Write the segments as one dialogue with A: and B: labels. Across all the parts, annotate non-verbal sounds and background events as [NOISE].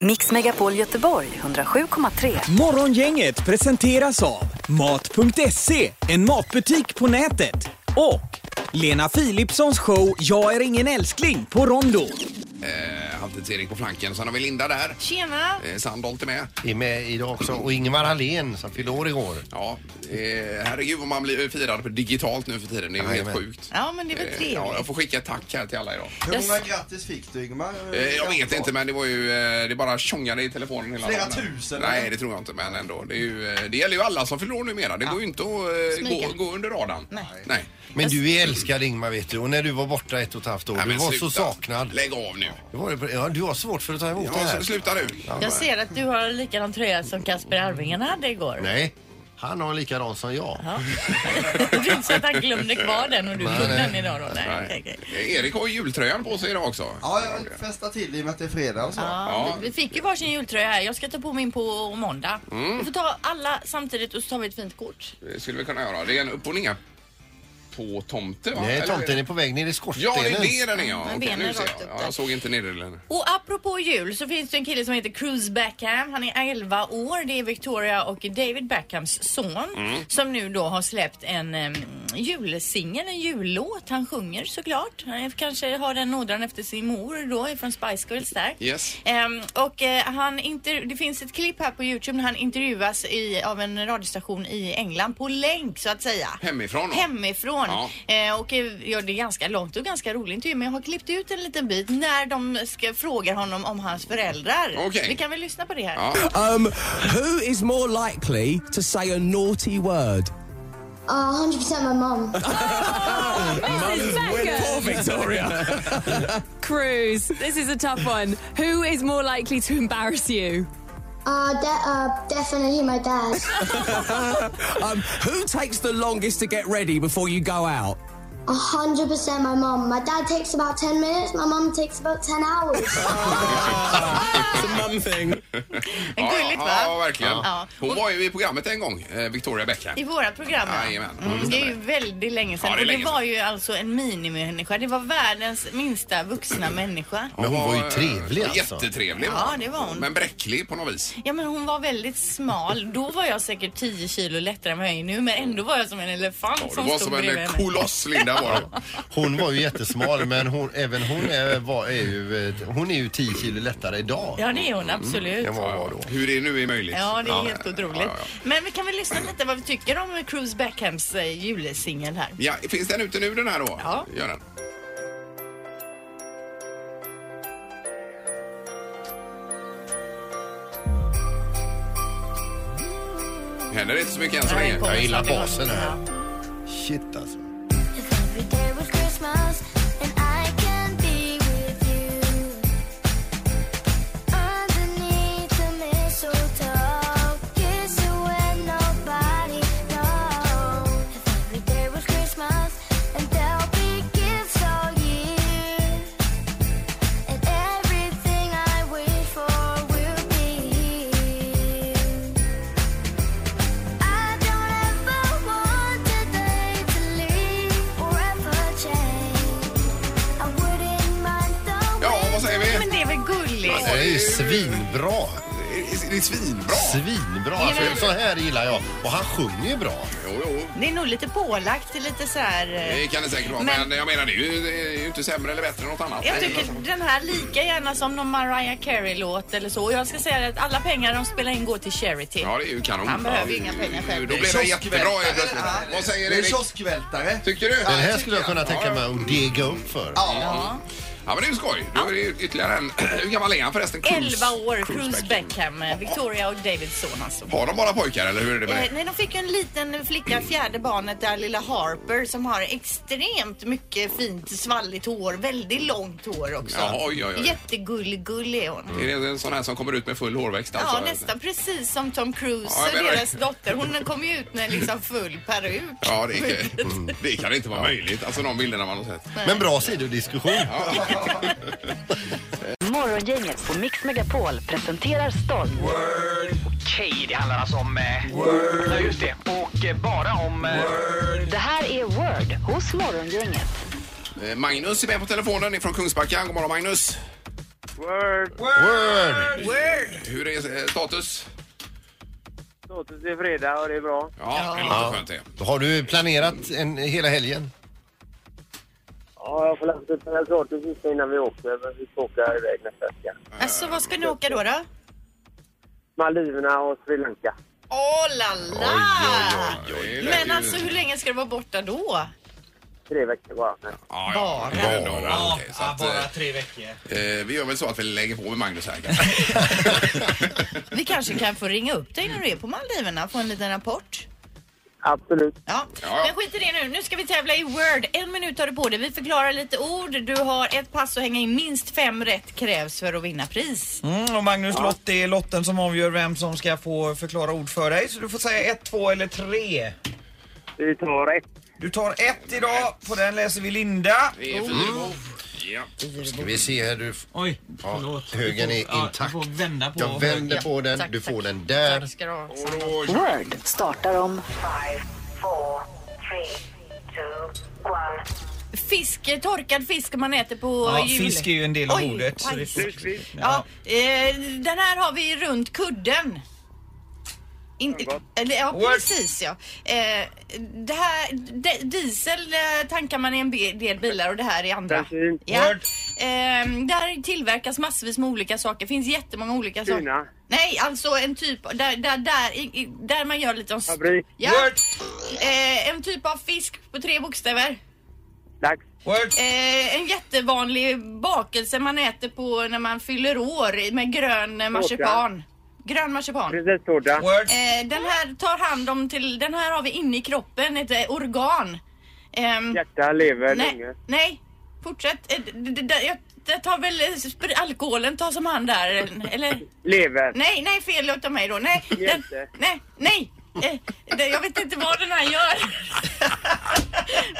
A: Mix Megapol Göteborg 107,3.
B: Morgongänget presenteras av Mat.se, en matbutik på nätet. Och Lena Philipssons show Jag är ingen älskling på Rondo.
C: Eh, Halvtids-Erik på flanken. Sen har vi Linda där.
D: Tjena!
C: Eh, Sandholt är med.
E: är med idag också. Och Ingemar Ahlén som fyllde år igår.
C: Ja, eh, herregud vad man blir firad på digitalt nu för tiden. Det är ju helt
E: Jajamän.
C: sjukt.
D: Ja, men det är väl
C: Eh,
D: trevligt.
C: Ja, jag får skicka ett tack här till alla idag.
F: Hur
D: Jag-
F: många grattis fick du Ingmar?
C: Eh, Jag vet inte men det var ju, eh, det bara tjongade i telefonen hela
F: Flera
C: dagen.
F: tusen,
C: Nej
F: eller?
C: det tror jag inte men ändå. Det, är ju, eh, det gäller ju alla som fyller år numera. Det går ju inte att eh,
D: Smyga.
C: gå, gå under radarn.
D: Nej.
C: Nej.
E: Men du är älskad Ingmar vet du. Och när du var borta ett och ett halvt år,
C: Nej,
E: du
C: men
E: var så
C: sluta.
E: saknad.
C: Lägg av nu.
E: Det var, det- ja, du har svårt för att ta emot det
C: Ja,
E: här.
C: så, sluta nu.
D: Jag ser att du har likadan tröja som Kasper Arvingen hade igår.
E: Nej, han har en likadan som jag.
D: Ja. [LAUGHS] det är inte så att han glömde kvar den och du tog den idag då? Nej, okej,
C: Nej.
D: okej.
C: Eh, Erik har ju jultröjan på sig idag också.
F: Ja, jag festar till i och med att det är fredag alltså. och så.
D: Ja, vi vi fick ju varsin jultröja här. Jag ska ta på min på måndag. Vi får ta alla samtidigt och så tar vi ett fint kort.
C: Det Eh, skulle vi kunna göra. Det är en upp och ner på tomte va?
E: Nej,
C: Eller-
E: tomten är på väg ner i skorstenen.
C: Ja, det är det den är ja.
D: Med
C: Okej,
D: benen
C: nu ser
D: rakt
C: jag.
D: upp
C: Ja,
D: där.
C: jag såg inte nederländer.
D: Och apropå jul så finns det en kille som heter Cruz Beckham. Han är 11 år. Det är Victoria och David Beckhams son som nu då har släppt en em, julsingel, en jullåt. Han sjunger såklart. Han kanske har den ådran efter sin mor då från Spice Girls där.
C: Yes.
D: Ehm, och eh, han inter- det finns ett klipp här på Youtube när han intervjuas i, av en radiostation i England på länk så att säga.
C: Hemifrån då?
D: Hemifrån.
C: Ja.
D: Eh, och eh, ja, det är ganska långt och ganska rolig intervju men jag har klippt ut en liten bit när de ska, frågar honom om hans föräldrar.
C: Okej.
D: Vi kan väl lyssna på det här. [LAUGHS]
C: Ja.
G: Um, who is more likely to say a naughty word?
H: Uh, 100% my mom.
G: [LAUGHS] Poor Victoria.
I: Cruz, this is a tough one. Who is more likely to embarrass you?
H: Uh, de- uh, definitely my dad.
G: um, [LAUGHS] who takes the longest to get ready before you go out?
H: 100% my mom. My dad takes about 10 minutes, my mom takes about 10 [LAUGHS] hours.
G: It's a mum thing.
D: Men gulligt
C: ja,
D: va?
C: Ja, verkligen.
D: Ja.
C: Hon var ju i programmet en gång, eh, Victoria Beckham.
D: I våra program ja.
C: Jajamän,
D: mm, Det är ju väldigt länge sedan.
C: Ja, det är
D: och det
C: länge
D: var
C: sedan.
D: ju alltså en minimimänniska. Det var världens minsta vuxna människa.
E: Men hon var ju trevlig
C: eh,
E: alltså.
C: Jättetrevlig
D: Ja, det var hon.
C: Men bräcklig på något vis.
D: Ja men hon var väldigt smal. Då var jag säkert 10 kilo lättare än vad jag är nu men ändå var jag som en elefant
C: Ja, det
D: som
C: var
D: stod
C: som en
D: bredvid
C: eh,
D: henne.
C: koloss, Linda var det.
E: Hon var ju jättesmal men hon, även hon är, var, är ju, eh, hon är ju 10 kilo lättare idag
D: Ja det är
C: Mm.
D: hon absolut.
E: än vad hon var då.
C: Hur det nu är möjligt.
D: Ja det är helt otroligt.
C: Ja, ja,
D: Men vi kan väl lyssna lite vad vi tycker om Cruise Backhams eh, julsingel här.
C: ja. ja, finns den ute nu den här då?
D: Ja.
C: Gör den. Händer inte så mycket än så länge.
D: kommer
E: jag gillar
D: snart igång.
E: basen här.
D: Ja.
E: Shit alltså.
H: If every day was Christmas and I can be with you underneath the mistletoe, kiss you when nobody knows. If every day was Christmas and there'll be gifts all year, and everything I wish for will be here. I don't ever want today to leave or ever change. I wouldn't mind the
C: Ja, vad säger
D: Ja,
C: vi?
D: Men det är väl gulligt?
E: Det är ju svinbra.
C: Det är- Det är svinbra.
E: Svinbra. Alltså, så här gillar jag. Och han sjunger ju bra.
C: Jo, jo.
D: Det är nog lite pålagt, lite så här... eh,
C: Det kan det säkert vara, men,
D: Men-
C: jag menar det är, ju, det är ju inte sämre eller bättre än något annat.
D: Jag tycker den här lika gärna som någon Mariah Carey-låt eller så. Och jag ska säga att alla pengar de spelar in går till charity.
C: Ja, det är ju kanon.
D: Han behöver
C: Ja,
D: inga pengar själv.
C: Då blir det jättebra helt plötsligt. Vad säger
F: Det är
C: Erik?
F: kioskvältare.
C: Tycker du?
E: Den här skulle jag kunna
C: Ja,
E: tänka
C: ja.
E: mig att dega upp för.
C: Ja. ja, men det är ju skoj. Då är det ju ytterligare en... [CLEARS THROAT] Hur gammal är han förresten? Cruise-
D: 11 år, Cruise
C: Cruise
D: Beckham, eh, Victoria och Davids son alltså.
C: Har de bara pojkar eller hur är det med
D: Eh,
C: det?
D: nej, de fick ju en liten flicka, fjärde barnet där, lilla Harper, som har extremt mycket fint svalligt hår, väldigt långt hår också.
C: Ja, oj, oj, oj.
D: Jättegullig är hon.
C: Är det en sån här som kommer ut med full hårväxt alltså?
D: Eh, Ja, nästan precis som Tom Cruise,
C: Ja, jag menar
D: deras
C: det.
D: dotter. Hon kom ju ut med liksom full peruk.
C: Ja, det, är, [LAUGHS] det kan inte vara möjligt. Alltså de bilderna man har sett.
E: Men bra sidodiskussion.
A: Morgongänget på Mix Megapol presenterar stolt
J: Okej, det handlar alltså om... Eh, Ja, just det. Och eh, bara om... Eh,
A: Det här är Word hos Morgongänget.
C: Eh, Magnus är med på telefonen ifrån Kungsbacka. God morgon Magnus.
E: Word!
C: Hur är eh, status?
K: Status är fredag och det är bra.
C: Ja, det låter skönt det.
E: Har du planerat en, hela helgen?
K: Ja, jag får läsa upp den här sorten sista innan vi åker, men vi ska åka iväg nästa vecka.
D: Alltså, vad ska ni åka då? då?
K: Maldiverna och Sri Lanka.
D: Åh la la!
C: oj, oj.
D: Ah. Men alltså, hur länge ska du vara borta då?
K: Tre veckor bara.
C: Ja, ja. Bara. Bara, okej. så att, eh,
L: tre veckor.
C: eh, vi gör väl så att vi lägger på med Magnus [LAUGHS] här.
D: Vi kanske kan få ringa upp dig när du är på Maldiverna och få en liten rapport.
K: Absolut.
D: Ja. Men skit i det nu. Nu ska vi tävla i Word. En minut har du på dig. Vi förklarar lite ord. Du har ett pass att hänga in. Minst fem rätt krävs för att vinna pris.
L: Mm, och Magnus Lott, det är lotten som avgör vem som ska få förklara ord för dig. Så du får säga ett, två eller tre.
K: Vi tar ett.
L: Du tar ett idag. På den läser vi Linda.
C: Mm. Ja.
E: Ska vi se här. Du...
L: Oj,
E: ja, Högen är intakt.
L: får vända på
E: Jag vänder på den. Du får den där.
A: Word startar om...
D: Fisk, eh, torkad fisk man äter på
L: Ja,
D: jul.
L: fisk är ju en del av
D: Oj,
L: ordet. Så
D: aj.
L: det är fisk.
D: Ja. eh, den här har vi runt kudden. In, eller, ja, precis ja. Eh, det här, de, diesel eh, tankar man i en be- del bilar och det här i andra.
K: Bensin.
D: Ja.
K: Word.
D: Eh, där tillverkas massvis med olika saker. finns jättemånga olika
K: Kina.
D: saker. Nej, alltså en typ där, där, där, i, i, där man gör lite... St-
K: Fabrik.
D: Ja.
K: Word.
D: Eh, en typ av fisk på tre bokstäver.
K: Dags.
D: Eh, en jättevanlig bakelse man äter på när man fyller år med grön eh, marsipan. Grön marsipan.
K: Prinsesstårta.
D: Eh, den här tar hand om till, den här har vi inne i kroppen, ett eh, organ. Ehm,
K: Hjärta, lever,
D: nej,
K: lunge.
D: nej, fortsätt. Eh, d- d- d- d- jag- Det tar väl eh, spr- alkoholen tas om hand där, eh, eller?
K: Lever.
D: Nej, nej, fel utav mig då. Nej, den,
K: Hjälte.
D: nej, nej. Eh, det, jag vet inte vad den här gör.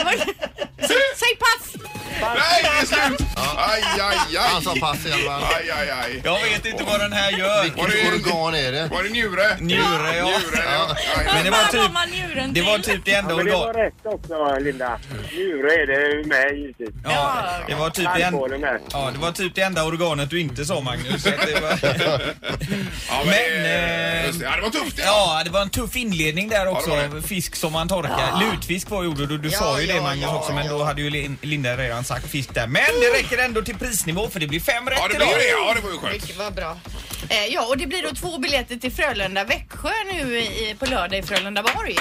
D: Vad- Säg, säg pass!
C: Nej, det är slut! Aj, aj, aj!
E: Han sa Alltså, pass i alla fall.
C: Aj, aj, aj.
L: Jag vet inte vad den här gör.
C: Var det-
E: Vilket organ är det?
C: Var det njure?
L: Njure, ja.
C: Njure, ja.
L: Men det var typ,
D: man njuren
L: det var typ det enda
K: Men det var
L: organ.
K: rätt också, Linda. Njure är det ju med givetvis.
L: Ja, det var typ det enda.
K: Alkoholen med.
L: Ja, det var typ det enda organet du inte sa Magnus. Så att det var...
C: Ja, men,
L: Men,
C: eh,
L: eh,
C: just det. Ja, det var tufft det.
L: Ja, det var en tuff inledning där också.
C: Ja, det var
L: Fisk som man torkar. Lutfisk var ju ordet och du
D: Ja,
L: sa ju det
D: ja,
L: Magnus
D: ja,
L: också men då hade ju Lin- Linda redan sagt fisk där. Men det räcker ändå till prisnivå för det blir fem rätt
C: Ja, det
L: idag.
C: blir det. Ja, det var ju skönt.
D: Mycket, vad bra. Eh, ja, och det blir då två biljetter till Frölunda-Växjö nu i, på lördag i Frölundaborg.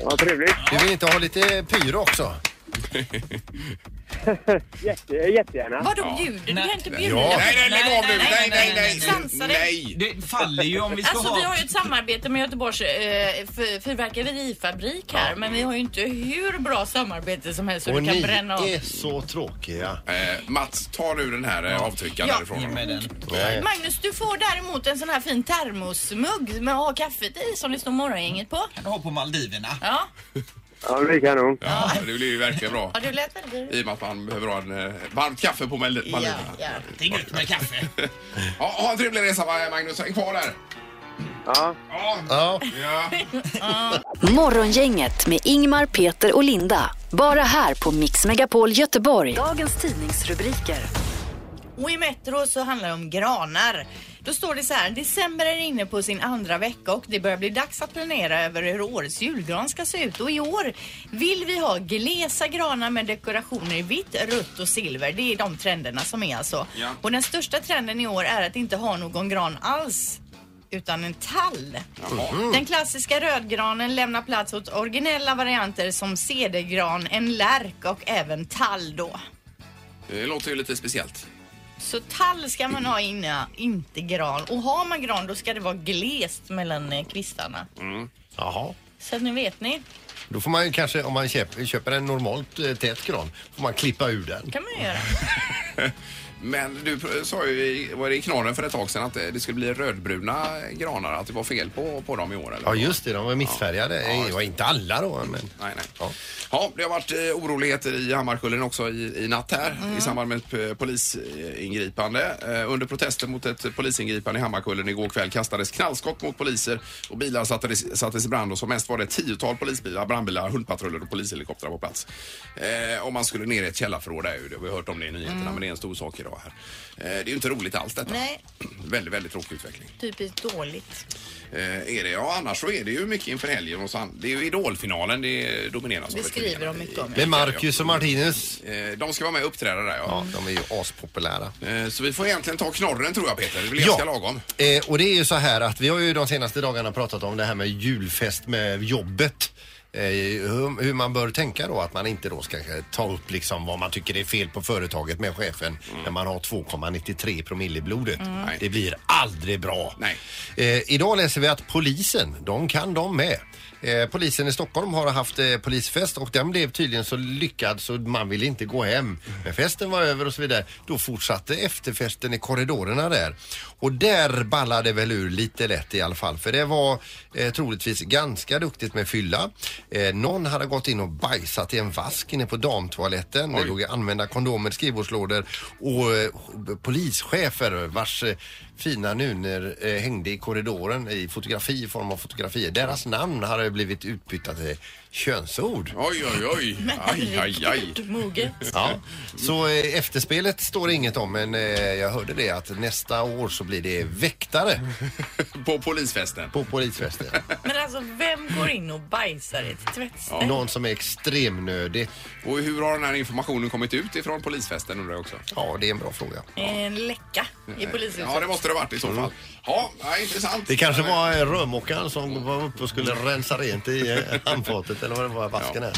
K: Vad trevligt.
E: Du vill inte ha lite pyro också?
K: Jätte, jättegärna.
D: Vadå bjuder? Du kan inte bjuda.
E: Ja.
C: Nej, nej, lägg av nu. Nej, nej, nej.
D: Sansa dig.
C: Nej.
L: Det faller ju om vi ska
D: Alltså
L: ha...
D: vi har ju ett samarbete med Göteborgs eh, fyr- fyrverkerifabrik här men vi har ju inte hur bra samarbete som helst så
E: Och
D: du
E: ni
D: kan bränna av.
E: är så tråkiga.
C: Eh, Mats, ta nu den här eh, avtryckaren
D: Ja.
C: därifrån.
L: Med den.
E: Nej.
D: Magnus, du får däremot en sån här fin termosmugg med att ha kaffet i som det står morgongänget på.
L: Du har på Maldiverna.
D: Ja,
K: Ja, det är kanon.
C: Ja, det blir ju verkligen bra.
D: ja du lät väldigt...
C: I och med att man behöver ha en eh, varmt kaffe på Mal-
D: Ja,
C: Maldiverna.
D: ja.
L: Det är gött med kaffe.
C: Ja, ha en trevlig resa va, Magnus. Häng kvar där.
K: Ja.
C: Ja.
E: Ja.
C: ja.
A: Morgongänget med Ingmar, Peter och Linda. Bara här på Mix Megapol Göteborg. Dagens tidningsrubriker.
D: Och i Metro så handlar det om granar. Då står det så här, december är inne på sin andra vecka och det börjar bli dags att planera över hur årets julgran ska se ut. Och i år vill vi ha glesa granar med dekorationer i vitt, rött och silver. Det är de trenderna som är alltså.
C: Ja.
D: Och den största trenden i år är att inte ha någon gran alls utan en tall. Den klassiska rödgranen lämnar plats åt originella varianter som cedergran, en lärk och även tall då.
C: Det låter ju lite speciellt.
D: Så tall ska man ha inne, inte gran. Och har man gran då ska det vara glest mellan eh, kvistarna.
E: Jaha.
D: Så att nu vet ni.
E: Då får man ju kanske, om man köper, köper en normalt eh, tät gran, får man klippa ur den.
D: kan man göra.
C: Men du pr- sa ju i- var det i knorren för ett tag sedan att eh, det skulle bli rödbruna granar, att det var fel på, på dem i år. Eller?
E: Ja just det, de var missfärgade.
C: just
E: det var inte alla då men...
C: Nej, nej. Ja.
E: Ja.
C: det har varit eh, oroligheter i Hammarkullen också i, i natt här i samband med ett p- polisingripande. Eh, under protester mot ett polisingripande i Hammarkullen igår kväll kastades knallskott mot poliser och bilar sattes, sattes i brand och som mest var det ett tiotal polisbilar, brandbilar, hundpatruller och polishelikoptrar på plats. Eh, om man skulle ner i ett källarförråd där ju, det har vi hört om det i nyheterna men det är en stor sak idag. var här. Eh, Det är ju inte roligt alls detta.
D: Nej,
C: [CLEARS THROAT] Väldigt, väldigt tråkig utveckling.
D: typiskt dåligt.
C: Eh, är det? Ja, annars så är det ju mycket inför helgen och så. an- Det är ju Idolfinalen det domineras
D: Det
C: av.
D: skriver de mycket om.
E: Med Marcus och Martinus.
C: Eh, De ska vara med och uppträda där ja.
E: Ja, de är ju aspopulära.
C: Eh, Så vi får egentligen ta knorren tror jag Peter. Det blir ganska lagom.
E: Eh, och det är ju så här att vi har ju de senaste dagarna pratat om det här med julfest med jobbet. Eh, hur, hur man bör tänka då att man inte då ska eh, ta upp liksom vad man tycker är fel på företaget med chefen när man har 2,93 promille i blodet. Det blir aldrig bra. Eh, idag läser vi att polisen, de kan de med. Eh, Polisen i Stockholm har haft eh, polisfest och den blev tydligen så lyckad så man ville inte gå hem. Men festen var över och så vidare. Då fortsatte efterfesten i korridorerna där. Och där ballade väl ur lite lätt i alla fall. För det var eh, troligtvis ganska duktigt med fylla. Eh, någon hade gått in och bajsat i en vask inne på damtoaletten. Det låg använda kondomer, skrivbordslådor och eh, polischefer vars eh, fina nuner eh, hängde i korridoren i fotografi i form av fotografier. Deras namn hade blivit utbytta till könsord.
C: Oj, oj, oj. Aj, aj, aj.
D: Moget.
E: Ja, så eh, efterspelet står det inget om men eh, jag hörde det att nästa år så blir det väktare.
C: [LAUGHS] På polisfesten?
E: På polisfesten.
D: Men alltså, vem går in och bajsar i ett tvättställ?
E: Någon som är extremnödig.
C: Och hur har den här informationen kommit ut ifrån polisfesten undrar jag också?
E: Ja, det är en bra fråga.
D: En läcka i polishuset.
C: Ja, det måste det ha varit i så fall. Ja, ja intressant.
E: Mm. Det kanske var eh, rörmokaren som var uppe och skulle rensa rent i eh, handfatet eller vad det var, vasken är.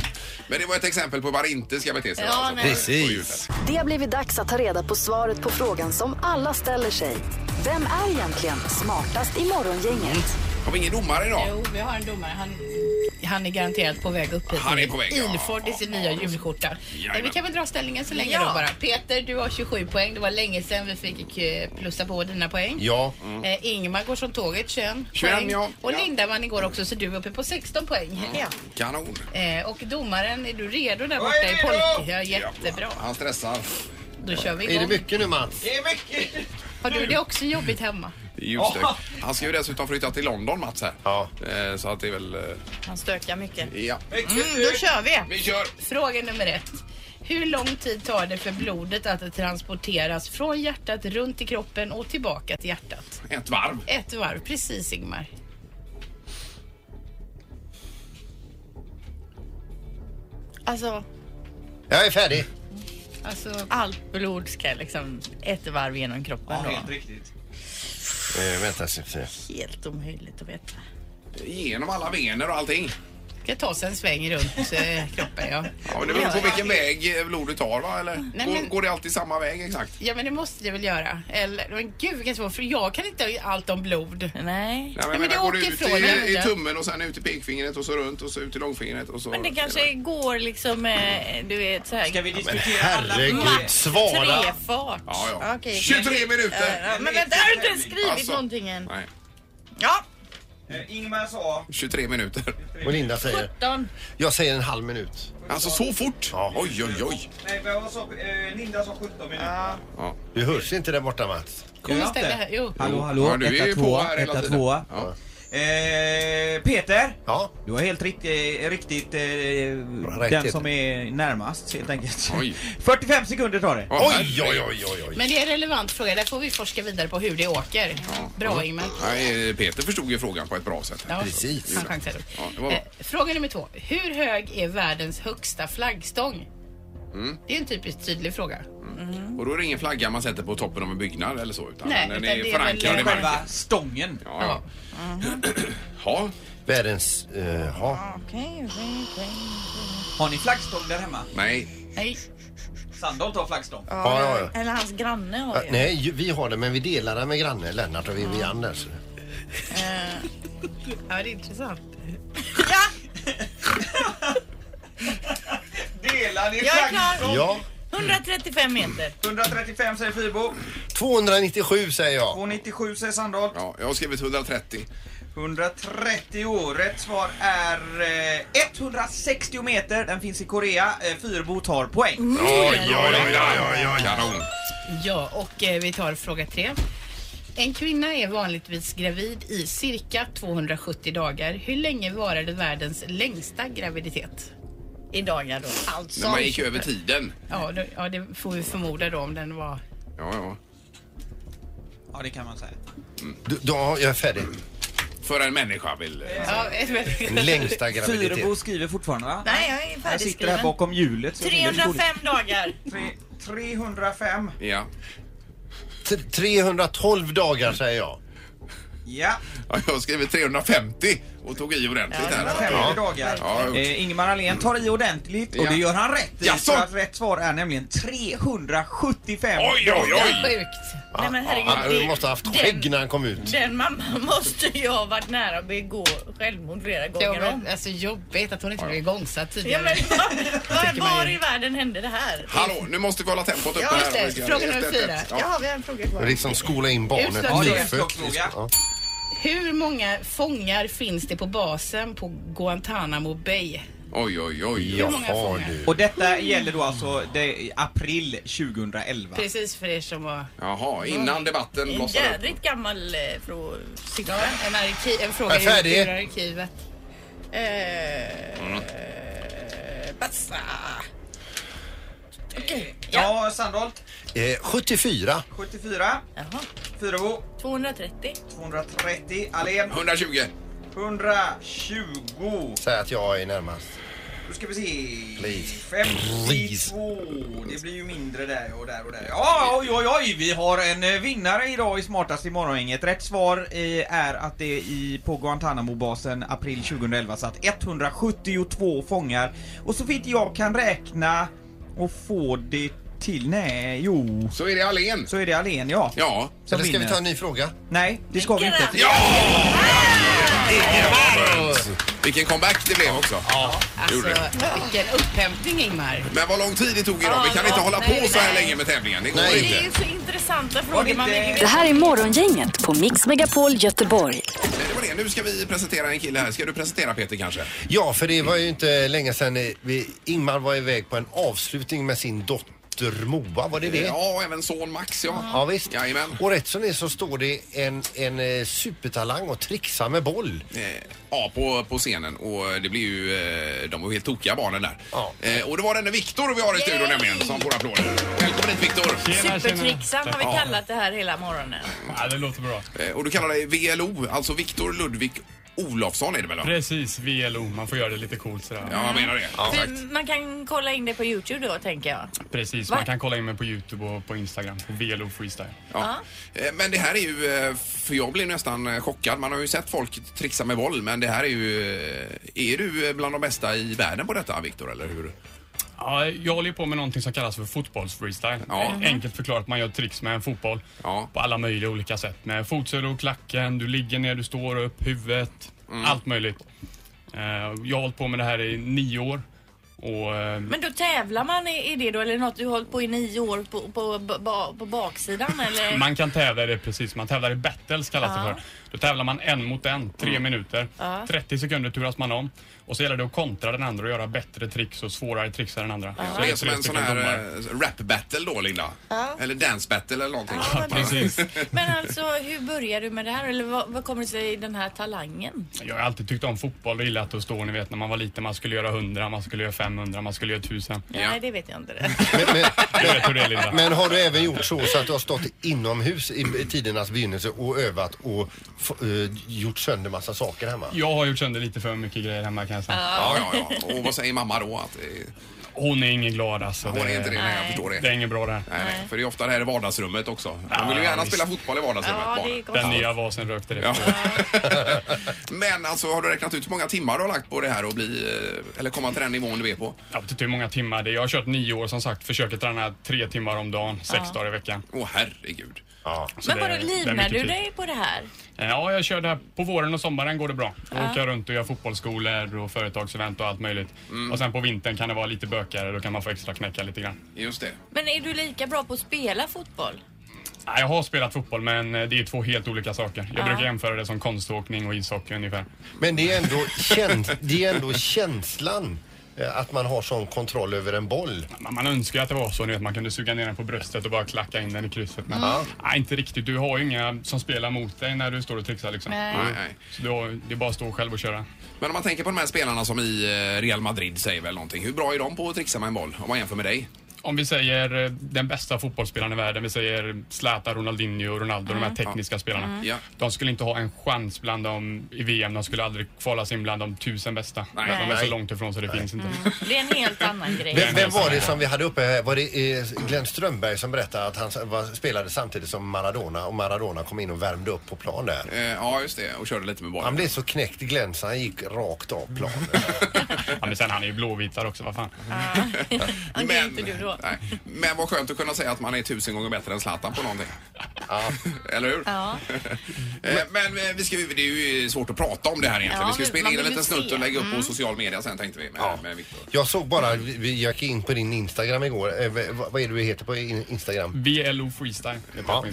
C: Men det var ett exempel på vad man inte ska bete sig. alltså,
A: Ja, nej.
E: Precis.
C: på julfest.
A: Det har blivit dags att ta reda på svaret på frågan som alla ställer sig. Vem är egentligen smartast i Morgongänget?
C: Har vi ingen domare idag?
D: Jo, vi har en domare. Han, han är garanterat på väg upp hit.
C: Han är på väg, ja.
D: Ilford i sin nya julskjorta.
M: Men vi kan väl dra ställningen så länge
D: Ja.
M: då bara. Peter, du har 27 poäng. Det var länge sedan vi fick eh, plussa på dina poäng.
E: Ja.
M: Eh, Ingmar går som tåget, 21
C: 21,
M: poäng.
C: ja.
M: Och Lindaman igår också, så du är uppe på 16 poäng.
C: Kanon.
M: Eh, och domaren, är du redo där
C: Jag
M: borta
C: är
M: i
C: redo!
M: polka? Ja, jättebra.
C: Han stressar.
M: Då kör vi
E: Är det
M: igång.
E: mycket nu Mats?
M: Det är mycket. Har du det också jobbigt hemma?
C: Just det. Han ska ju dessutom flytta till London, Mats. Här. Eh, Så att det är väl... eh,
M: Han stökar mycket.
C: Ja.
M: Mm, då kör vi.
C: Vi kör.
M: Fråga nummer ett. Hur lång tid tar det för blodet att transporteras från hjärtat runt i kroppen och tillbaka till hjärtat?
C: Ett varv.
M: Ett varv, precis Ingmar. Alltså,
E: Jag är färdig.
M: alltså...
D: Allt blod ska liksom ett varv genom kroppen då.
C: riktigt.
E: Eh, vänta, ska vi se.
M: Helt omöjligt att veta.
C: Genom alla vener och allting.
M: Ska ta sig en sväng runt eh, kroppen, ja.
C: Ja, men det beror på vilken väg eh, blodet tar, va? Eller?
M: Nej,
C: går,
M: men-
C: går det alltid samma väg exakt?
M: Ja, men det måste det väl göra. Eller, men gud vilken svår för jag kan inte allt om blod.
D: Nej.
C: Nej, men, men
M: det
C: går
M: åker
C: det ut
M: ifrån
C: i, i
M: huden.
C: tummen och sen ut i pekfingret och så runt och så ut i långfingret och så...
D: Men det kanske går liksom, eh, du vet så här. Ska vi
C: diskutera alla- herregud, svala.
D: Trefart.
C: Ja, ja.
D: Okej.
C: 23 minuter!
D: Ja, men vänta, har du inte skrivit
C: Alltså,
D: någonting än?
C: Nej,
D: Ja.
L: Eh, Ingmar sa...
C: 23 minuter.
E: Och Linda säger?
M: 17.
E: Jag säger en halv minut.
C: Alltså så fort? Ja. Oj, oj, oj.
L: Nej, vad sa... eh, Linda sa 17 minuter.
E: Du hörs inte där borta Mats.
L: Kom
M: Just det, det här- jo.
L: Hallå,
E: hallå,
L: hallå.
E: Ja, du är
L: etta,
E: ju på
L: tvåa,
E: här hela
L: etta,
E: tiden.
L: tvåa.
E: Ja.
L: Eh, Peter,
E: ja.
L: du har helt rikt, eh, riktigt eh, den
E: Rätt.
L: som är närmast helt enkelt. [LAUGHS] 45 sekunder tar det.
E: Oj, oj, oj, oj, oj.
M: Men det är en relevant fråga. Där får vi forska vidare på hur det åker. Bra Ingmar.
C: Nej, Peter förstod ju frågan på ett bra sätt.
M: Ja, Precis. han chansade.
C: Ja, det var
M: Eh,
C: bra.
M: fråga nummer två. Hur hög är världens högsta flaggstång?
C: Mm.
M: Det är en typiskt tydlig fråga.
C: Och då är det ingen flagga man sätter på toppen av en byggnad eller så, utan
M: Nej,
C: den
M: utan
C: är
M: det är
C: förankrad
M: väl-
C: i marken.
M: Själva
L: stången.
C: Ja, [CLEARS THROAT] ja.
E: Världens... eh, ja.
D: Okej, okej, okej.
L: Har ni flaggstång där hemma?
C: Nej.
M: Nej.
L: Sandholt har flaggstång.
E: Ja, ja, ja.
D: Eller hans granne har
E: Eh, Nej, ju- vi har det men vi delar det med grannen Lennart och vi, vi Anders.
M: Eh, ja, det är intressant.
L: Delar ni
D: Jag är klar.
L: flaggstång?
E: Ja.
D: 135 meter.
L: 135 säger Fyrbo.
E: 297 säger jag.
L: 297 säger Sandholt.
C: Ja, jag har skrivit 130.
L: 130. Rätt svar är eh, 160 meter. Den finns i Korea. Eh, Fyrbo tar poäng.
M: Oj, oj, oj,
C: oj. Kanon.
M: Ja, och eh, vi tar fråga tre. En kvinna är vanligtvis gravid i cirka 270 dagar. Hur länge varade världens längsta graviditet? I dagar då. Alltså.
C: Men man gick över tiden.
M: Ja, då, ja, det får vi förmoda då om den var
C: Ja, ja.
L: Ja, det kan man säga.
E: Du, då, jag är färdig.
C: För en människa vill... eh,
M: Ja,
E: Mm.
L: Fyrebo skriver fortfarande va?
D: Nej, jag är
L: Jag sitter här
D: färdigskriven.
L: bakom hjulet. så-
D: 305 dagar.
L: 305.
C: Ja.
E: T- 312 dagar säger jag.
L: Ja.
C: ja jag har skrivit 350 och tog i ordentligt här.
L: 350 dagar.
C: Ja.
L: Eh, Ingemar Ahlén tar i ordentligt och
C: Ja.
L: det gör han rätt i.
C: Jaså?
L: För att rätt svar är nämligen 375
E: Oj, oj, oj.
D: Sjukt. Nej men
E: Han
D: herregud.
E: måste ha haft
D: den-
E: skägg när han kom ut.
D: Den mamman måste ju ha varit nära att begå självmord flera
M: Ja,
D: gånger om.
M: men, alltså jobbigt att hon inte blev igångsatt
D: Ja,
M: tidigare.
N: [LAUGHS]
D: men, var,
M: Tycker man
D: var,
M: ju.
D: i världen hände det här?
C: Hallå, nu måste vi hålla tempot uppe
D: Ja, just
C: här.
D: det. Fråga nummer fyra. Ja, vi har en fråga
E: Och
D: kvar.
E: Liksom skola in barnet.
M: Utslagsfråga.
E: nyfött. liksom.
M: Utslagsfråga.
E: Ja.
M: Hur många fångar finns det på basen på Guantanamo Bay?
C: Oj, oj, oj.
M: Hur många Jaha, fångar? du.
L: Och detta gäller då alltså det, april 2011.
M: Precis för er som var...
C: Jaha, innan debatten
D: En jädrigt gammal eh, frå- siffra.
M: Ja, en, arki- en fråga
D: Jag är färdig.
M: ur ur arkivet.
D: Eh, passa. Okej.
L: Ja, Sandholt.
E: Eh, 74.
L: 74. Fyrebo.
D: 230.
L: 230. Alén.
C: 120.
L: 120.
E: Säg att jag är närmast.
L: Då ska vi se.
E: Please.
L: 52. Det blir ju mindre där och där och där. Ja, oj, oj, oj. Vi har en eh, vinnare idag i Smartast i morgongänget. Rätt svar eh, är att det i, på Guantanamo-basen april 2011 satt 172 fångar. Och så vitt jag kan räkna och få det till... Nej, jo.
C: Så är det Alén.
L: Så är det Alén, ja.
C: Ja.
E: Eller ska vi ta en ny fråga?
L: Nej, det ska vi inte.
C: Vilken comeback det blev också. Ja, det gjorde
E: Alltså-
C: det.
D: Alltså,
M: Vilken upphämtning Ingmar.
C: Men vad lång tid det tog idag. Vi kan inte hålla på så här länge med tävlingen. Det går
D: Det är
C: inte.
D: ju så intressanta frågor man vill
A: Det här är Morgongänget på Mix Megapol Göteborg.
C: Det var det. Nu ska vi presentera en kille här. Ska du presentera Peter kanske?
E: Ja, för det var ju inte länge sedan eh, vi, Ingmar var iväg på en avslutning med sin dotter Moa. Var det det?
C: Ja, och även son Max ja.
E: Ja visst. Och rätt som det är så står det en, en eh, supertalang och trixar med boll.
C: Eh, Ja, på, på scenen och det blir ju, eh, de var ju helt tokiga barnen där. Eh, Och det var den Viktor vi har i studion nämligen som får applåder. Välkommen hit Viktor!
D: Supertricksan har vi
C: Ja.
D: kallat det här hela morgonen.
N: Ja, det låter bra.
C: Eh, Och du kallar dig VLO, alltså Viktor Ludvig Olofsson är det väl? va?
N: Precis, VLO. Man får göra det lite coolt sådär.
C: Ja, jag menar det.
D: För man kan kolla in det på Youtube då, tänker jag.
N: Precis,
D: Va?
N: man kan kolla in mig på Youtube och på Instagram. På VLO Freestyle.
C: Ja. Eh, Men det här är ju, eh, för jag blev nästan eh, chockad. Man har ju sett folk trixa med boll men det här är ju, eh, är du eh, bland de bästa i världen på detta Viktor eller hur?
N: Ja, jag håller ju på med någonting som kallas för fotbollsfreestyle.
C: Ja.
N: Eh, Enkelt förklarat, man gör tricks med en fotboll på alla möjliga olika sätt. Med fotsulor, klacken, du ligger ner, du står upp, huvudet.
C: Mm.
N: Allt möjligt. Eh, Jag har hållit på med det här i nio år. Och, eh,
D: Men då tävlar man i, i det då, eller något du har hållit på i nio år på, på, på, på baksidan eller?
N: Man kan tävla i det precis. Man tävlar i battles kallas
D: Ja.
N: det för. Då tävlar man en mot en, tre
C: Mm.
N: minuter.
D: Ja.
N: 30 sekunder turas man om. Och så gäller det att kontra den andra och göra bättre tricks och svårare tricks än den andra. Så
C: Det är
N: tre
C: som Liksom en sån
N: stycken
C: här
N: domare.
C: eh, rap-battle då Linda?
D: Ja.
C: Eller dance-battle eller någonting.
N: Ja, precis.
D: [LAUGHS] Men alltså, hur började du med det här? Eller vad, vad kommer det sig den här talangen?
N: Jag har alltid tyckt om fotboll och gillat att stå, ni vet när man var liten, man skulle göra 100, man skulle göra 500, man skulle göra 1000.
D: Nej, det vet jag inte. Det.
N: Du vet hur det är Linda.
E: Men har du även gjort så, så att du har stått inomhus i i tidernas begynnelse och övat och f- eh, gjort sönder massa saker hemma?
N: Jag har gjort sönder lite för mycket grejer hemma kan jag säga.
C: Ja, ja, ja. Och vad säger mamma då? Att, eh,
N: Hon är ingen glad alltså.
C: Hon är inte det, nej, jag förstår det.
N: Det är inget bra det här.
C: nej, nej. För det är ofta det här i vardagsrummet också. De vill ju
N: Ja,
C: gärna
N: visst.
C: spela fotboll i vardagsrummet.
N: Ja, det
C: barnen.
N: är konstigt. Den nya vasen rökte det.
C: [LAUGHS] Men alltså, har du räknat ut hur många timmar du har lagt på det här och bli, eh, eller komma till den nivån du är på?
N: Jag vet inte hur många timmar det är. Jag har kört nio år som sagt. Försöker träna tre timmar om dagen, sex
D: Ja.
N: dagar i veckan.
C: Åh herregud.
E: Ja.
D: Men vadå, livnär du dig på det här?
N: Eh, Ja, jag kör det här på våren och sommaren går det bra. Då
D: Ja.
N: åker jag runt och gör fotbollsskolor och företagsevent och allt möjligt.
C: Mm.
N: Och sen på vintern kan det vara lite bökigare. Då kan man få extra knäcka lite grann.
C: Just det.
D: Men är du lika bra på att spela fotboll?
N: Ja, Jag har spelat fotboll, men eh, det är två helt olika saker. Jag
D: Ja.
N: brukar jämföra det som konståkning och ishockey ungefär.
E: Men det är ändå, käns- det är ändå känslan eh, att man har sån kontroll över en boll.
N: Man, man önskar ju att det var så, ni vet, man kunde suga ner den på bröstet och bara klacka in den i krysset. Men
E: Ja.
N: nej, inte riktigt. Du har ju inga som spelar mot dig när du står och trixar liksom.
D: Nej. Nej,
C: nej.
N: Så du har, det är bara att stå själv och köra.
C: Men om man tänker på de här spelarna som i eh, Real Madrid säger väl någonting. Hur bra är de på att trixa med en boll om man jämför med dig?
N: om vi säger eh, den bästa fotbollsspelaren i världen, vi säger Zlatan, Ronaldinho, Ronaldo, de
O: Mm.
N: här tekniska
O: Ja.
N: spelarna.
O: Mm. Ja.
N: De skulle inte ha en chans bland dem i VM. De skulle aldrig kvala sig in bland de tusen bästa.
D: Nej.
N: De är så
D: Nej.
N: långt ifrån så det finns inte.
O: Mm.
D: Det är en helt annan grej.
E: Vem, vem var det som vi hade uppe här? Var det eh, Glenn Strömberg som berättade att han s- var, spelade samtidigt som Maradona och Maradona kom in och värmde upp på plan där?
C: Eh, ja, just det. Och körde lite med bollen.
E: Han blev så knäckt Glenn så han gick rakt av planen.
N: ja, men sen han är ju blåvitare också, vad fan.
C: men, Nej. men vad skönt att kunna säga att man är tusen gånger bättre än Zlatan på någonting. [LAUGHS] Eller hur?
D: Ja.
C: [LAUGHS] Eh, men eh, vi ska, ju- det är ju svårt att prata om det här egentligen.
D: Ja,
C: vi ska ju
D: men
C: spela
D: man
C: in en
D: vill
C: liten
D: ju
C: snutt
D: se.
C: och lägga upp på
D: Mm.
C: social media sen tänkte vi. Med, med Victor.
E: Jag såg bara, vi vi gick in på din Instagram igår. Eh, v- vad är det du heter på in- Instagram?
N: VLO Freestyle.
E: Ja.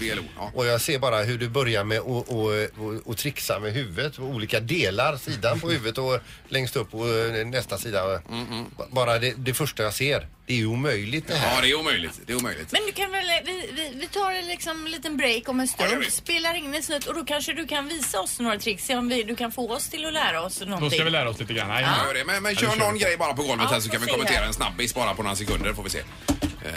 E: Och jag ser bara hur du börjar med att och, och, och trixa med huvudet, på olika delar, sidan på huvudet och längst upp och eh, nästa sida. B- Bara det, det första jag ser, det är ju omöjligt det här.
C: Ja, det är omöjligt. Det är omöjligt.
D: Men du kan väl, vi, vi, vi tar en liksom liten break om en
C: Ja, gör
D: stund,
C: vi.
D: spelar in en snutt och då kanske du kan visa oss några tricks, se om vi, du kan få oss till att lära oss någonting.
N: Då ska vi lära oss lite grann. Nej,
C: Ja, gör det. Men, men
N: Ja,
C: kör
N: då kör
C: någon
N: vi.
C: grej bara på golvet
N: Ja,
C: här så kan vi
N: får se
C: kommentera
N: här.
C: en snabbis bara på några sekunder får vi se. Eh,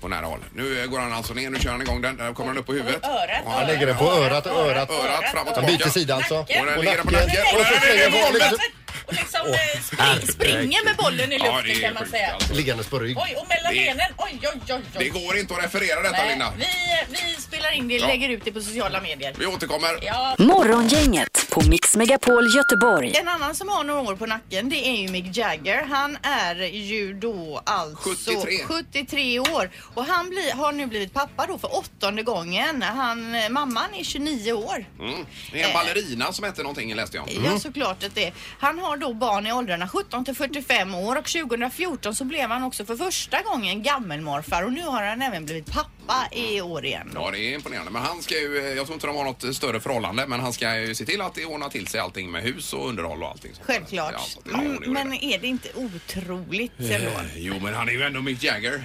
C: på nära håll. Nu eh, går han alltså ner, nu kör han igång den. Där kommer den upp på huvudet. Örat,
E: Han lägger den på örat och örat.
C: Örat fram och
E: Han
C: tillbaka.
E: byter sida alltså.
C: Och den
E: Och
C: ligger den på
E: nacken.
C: nacken.
E: Och så slänger
C: Nej, nej, nej,
E: bollen.
C: nej.
D: Och liksom
E: Åh,
D: eh, spring, springer med bollen i
C: Ja,
D: luften
C: det är
D: kan man
C: sjukt,
D: säga.
C: alltså.
E: Liggandes på rygg.
D: Oj, och mellan
C: Det-
D: benen. Oj, oj, oj, oj.
C: Det går inte att referera detta,
D: Nej,
C: Linda.
D: Vi, vi spelar in det,
C: Ja.
D: lägger ut det på sociala medier.
C: Vi återkommer.
D: Ja.
A: Morgongänget på Mix Megapol Göteborg.
D: En annan som har några år på nacken det är ju Mick Jagger. Han är ju då alltså
M: 73.
D: 73 år och han blir, har nu blivit pappa då för åttonde gången. Han, eh, mamman är 29 år.
C: Mm. Det är en
D: Eh.
C: ballerina som hette någonting läste jag.
D: Ja, såklart att det är. Han har då barn i åldrarna 17 till 45 år och 2014 så blev han också för första gången gammelmorfar och nu har han även blivit pappa i år igen.
C: Ja, det är imponerande. Men han ska ju, eh, jag tror inte de har något större förhållande, men han ska ju se till att det ordnar till sig allting med hus och underhåll och allting. sånt.
D: Självklart.
C: Ja, så det är
D: Mm,
C: ordning och
D: men är det inte otroligt ändå?
C: Eh, Jo, men han är ju ändå Mick Jagger.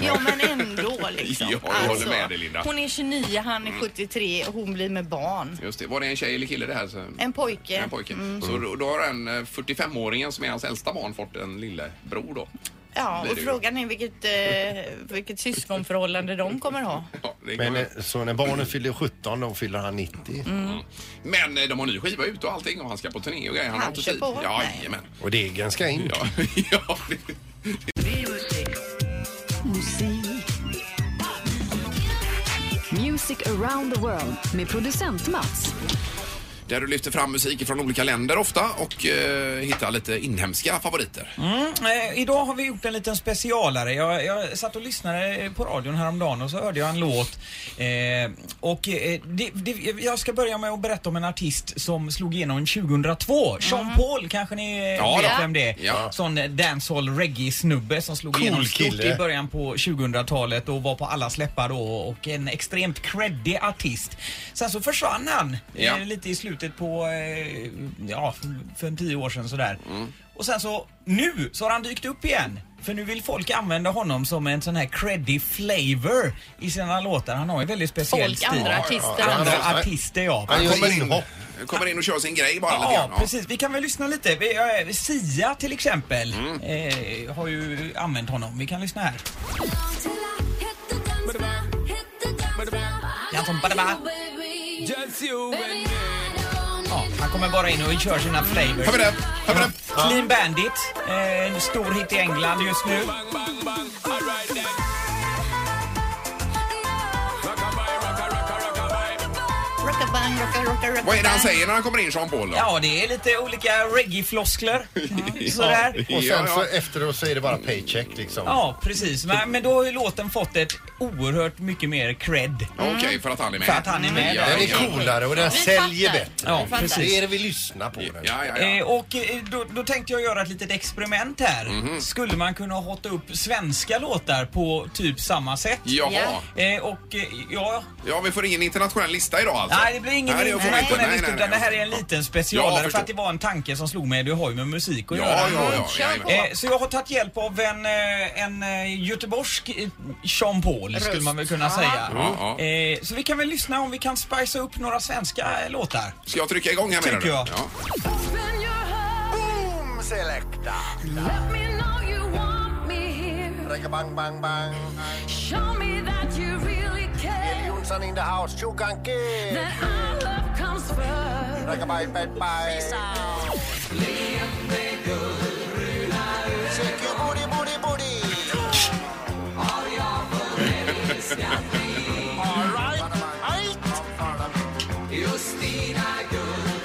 D: Ja, men ändå liksom.
C: [LAUGHS] Ja, jag håller med dig, Linda. Mm.
D: Hon är 29, han är 73 och hon blir med barn.
C: Just det. Var det en tjej eller kille det här? Så...
D: En pojke. Mm.
C: En pojke. Så
L: Mm.
C: då, då har den eh, 45-åringen som är hans äldsta barn fått en lillebror då.
D: Ja,
C: blir
D: och
C: det ju.
D: frågan är vilket, eh, vilket syskonförhållande de kommer ha.
E: Men eh, så när barnen fyller 17, då fyller han 90.
D: Mm.
C: Men eh, de har ny skiva ute och allting och han ska på turné och grejer. Han har
E: Han
C: inte
E: kör
C: tid.
E: på.
C: Ja,
E: Nej.
C: jajamän.
E: Och degen ska in.
C: [LAUGHS]
A: Music around the world med producent Mats.
C: Där du lyfter fram musik från olika länder ofta och eh, hittar lite inhemska favoriter.
L: Mm, eh, idag har vi gjort en liten specialare. Jag, jag satt och lyssnade eh, på radion häromdagen och så hörde jag en låt. Eh, och eh, det, det, jag ska börja med att berätta om en artist som slog igenom 2002. Sean Paul kanske ni eh,
N: Ja
L: vet
N: då.
L: vem det är.
N: Ja.
L: Sån eh, dancehall reggae-snubbe som slog
N: Cool
L: igenom stort
N: kille.
L: i början på 2000-talet och var på allas läppar då och en extremt creddig artist. Sen så försvann han eh,
N: Ja.
L: lite i slutet på, eh, ja, fem, tio år sedan sådär. Och sen så, nu så har han dykt upp igen. För nu vill folk använda honom som en sån här creddy flavor i sina låtar. Han har ju väldigt speciell
D: Folk,
L: stil.
D: andra artister.
L: Andra
D: Han-
L: artister, ja.
C: Han kommer in, kommer in och kör sin grej bara lite
L: Mm. Ja,
C: grann.
L: precis. Vi kan väl lyssna lite. Vi, eh, Sia till exempel eh, har ju använt honom. Vi kan lyssna här. Jansson, badaba. Just you and me. Ja, han kommer bara in och kör sina flavors. Hör vi det? Hör vi det? Clean Bandit, eh, en stor hit i England just nu.
D: Rockabang, rocka, rocka, rocka,
C: Vad är det han säger när han kommer in, Jean Paul? Då?
L: Ja, det är lite olika
E: [LAUGHS]
L: reggae-floskler. Sådär.
E: Och sen så efteråt så är det bara paycheck liksom.
L: Ja, precis. Men, men då har ju låten fått ett oerhört mycket mer cred.
E: Mm. Okej, för att han är med.
L: För att han är med.
E: Den är coolare och den Vi säljer fattar. bättre.
L: Ja,
E: Vi fattar.
L: precis.
E: Det är det vi lyssnar på. Ja, ja, ja.
L: Eh, och eh, då, då tänkte jag göra ett litet experiment här.
E: Mhm.
L: Skulle man kunna hotta upp svenska låtar på typ samma sätt?
C: Jaha.
L: Eh, och eh, ja...
C: Ja, vi får ingen internationell lista idag alltså?
L: Nej, det blir ingen
C: Nej, det får vi inte.
L: internationell
C: Nej,
L: lista
C: nej,
L: utan det
C: nej.
L: här är en liten
C: Ja,
L: specialare
C: jag
L: för
C: förstår.
L: att det var en tanke som slog mig. Du har ju med musik att
C: Ja,
L: göra.
C: ja, ja, jajamän.
L: Eh, så jag har tagit hjälp av en, eh, en eh, göteborgsk eh, Jean Paul skulle
C: Röst.
L: man väl kunna
C: Ja.
L: säga.
C: Ja, ja.
L: Eh, så vi kan väl lyssna om vi kan spicea upp några svenska eh, låtar.
C: Ska jag trycka igång här menar
L: Tycker
C: du?
L: jag.
C: Ja.
H: Boom selecta. Let me know you want me here.
E: reggae bang bang bang.
P: Show me that you really
E: Jill
P: care.
E: Johnson in the house, Shogun Kid.
P: That our love comes first.
E: Reggae bye bye bye. Shake your booty booty booty. Alright, alright. Justina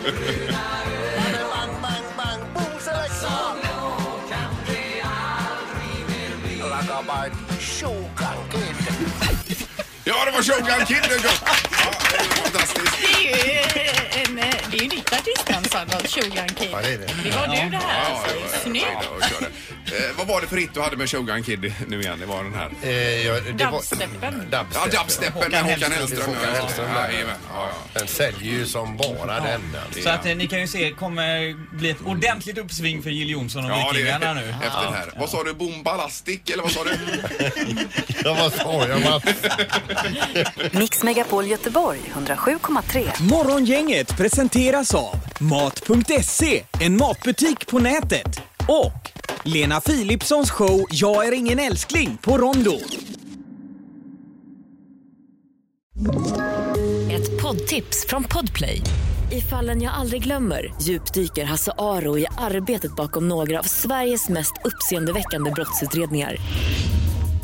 E: Bang bang bang boom selector. Reggae bye Shogun Kid.
C: Ja, det var Shogun Kid. det kom. Ja, det är fantastiskt.
Q: Det är ju, eh, en, eh, det är ju ditt artistnamn Sandra, Shogun Kid.
C: Ja, det är det.
Q: Det var
C: Ja.
Q: du det här
C: Ja, ja, ja.
Q: alltså. Snyggt.
C: Ja, jag kör det. Eh, vad var det för hit du hade med Shogun Kid nu igen? Det var den här.
E: Eh,
Q: Dubstepen.
C: Ja, dubstepen med Håkan Hellström.
E: Håkan Hellström,
C: Ja,
E: ja.
C: jajamän. ja, ja.
E: Den säljer ju som bara den. alltså.
R: Så att eh, ni kan ju se, kommer bli ett ordentligt uppsving för Jill Johnson och
E: Ja, det-
R: Vikingarna
C: [LAUGHS]
R: nu.
E: efter det här.
C: Vad sa du? Bombalastik eller vad sa du?
E: Ja, vad sa jag? Mats?
S: Mix Megapol Göteborg 107,3.
L: Morgongänget presenteras av Mat.se, en matbutik på nätet och Lena Philipssons show Jag är ingen älskling på Rondo.
A: Ett poddtips från Podplay. I fallen jag aldrig glömmer djupdyker Hasse Aro i arbetet bakom några av Sveriges mest uppseendeväckande brottsutredningar.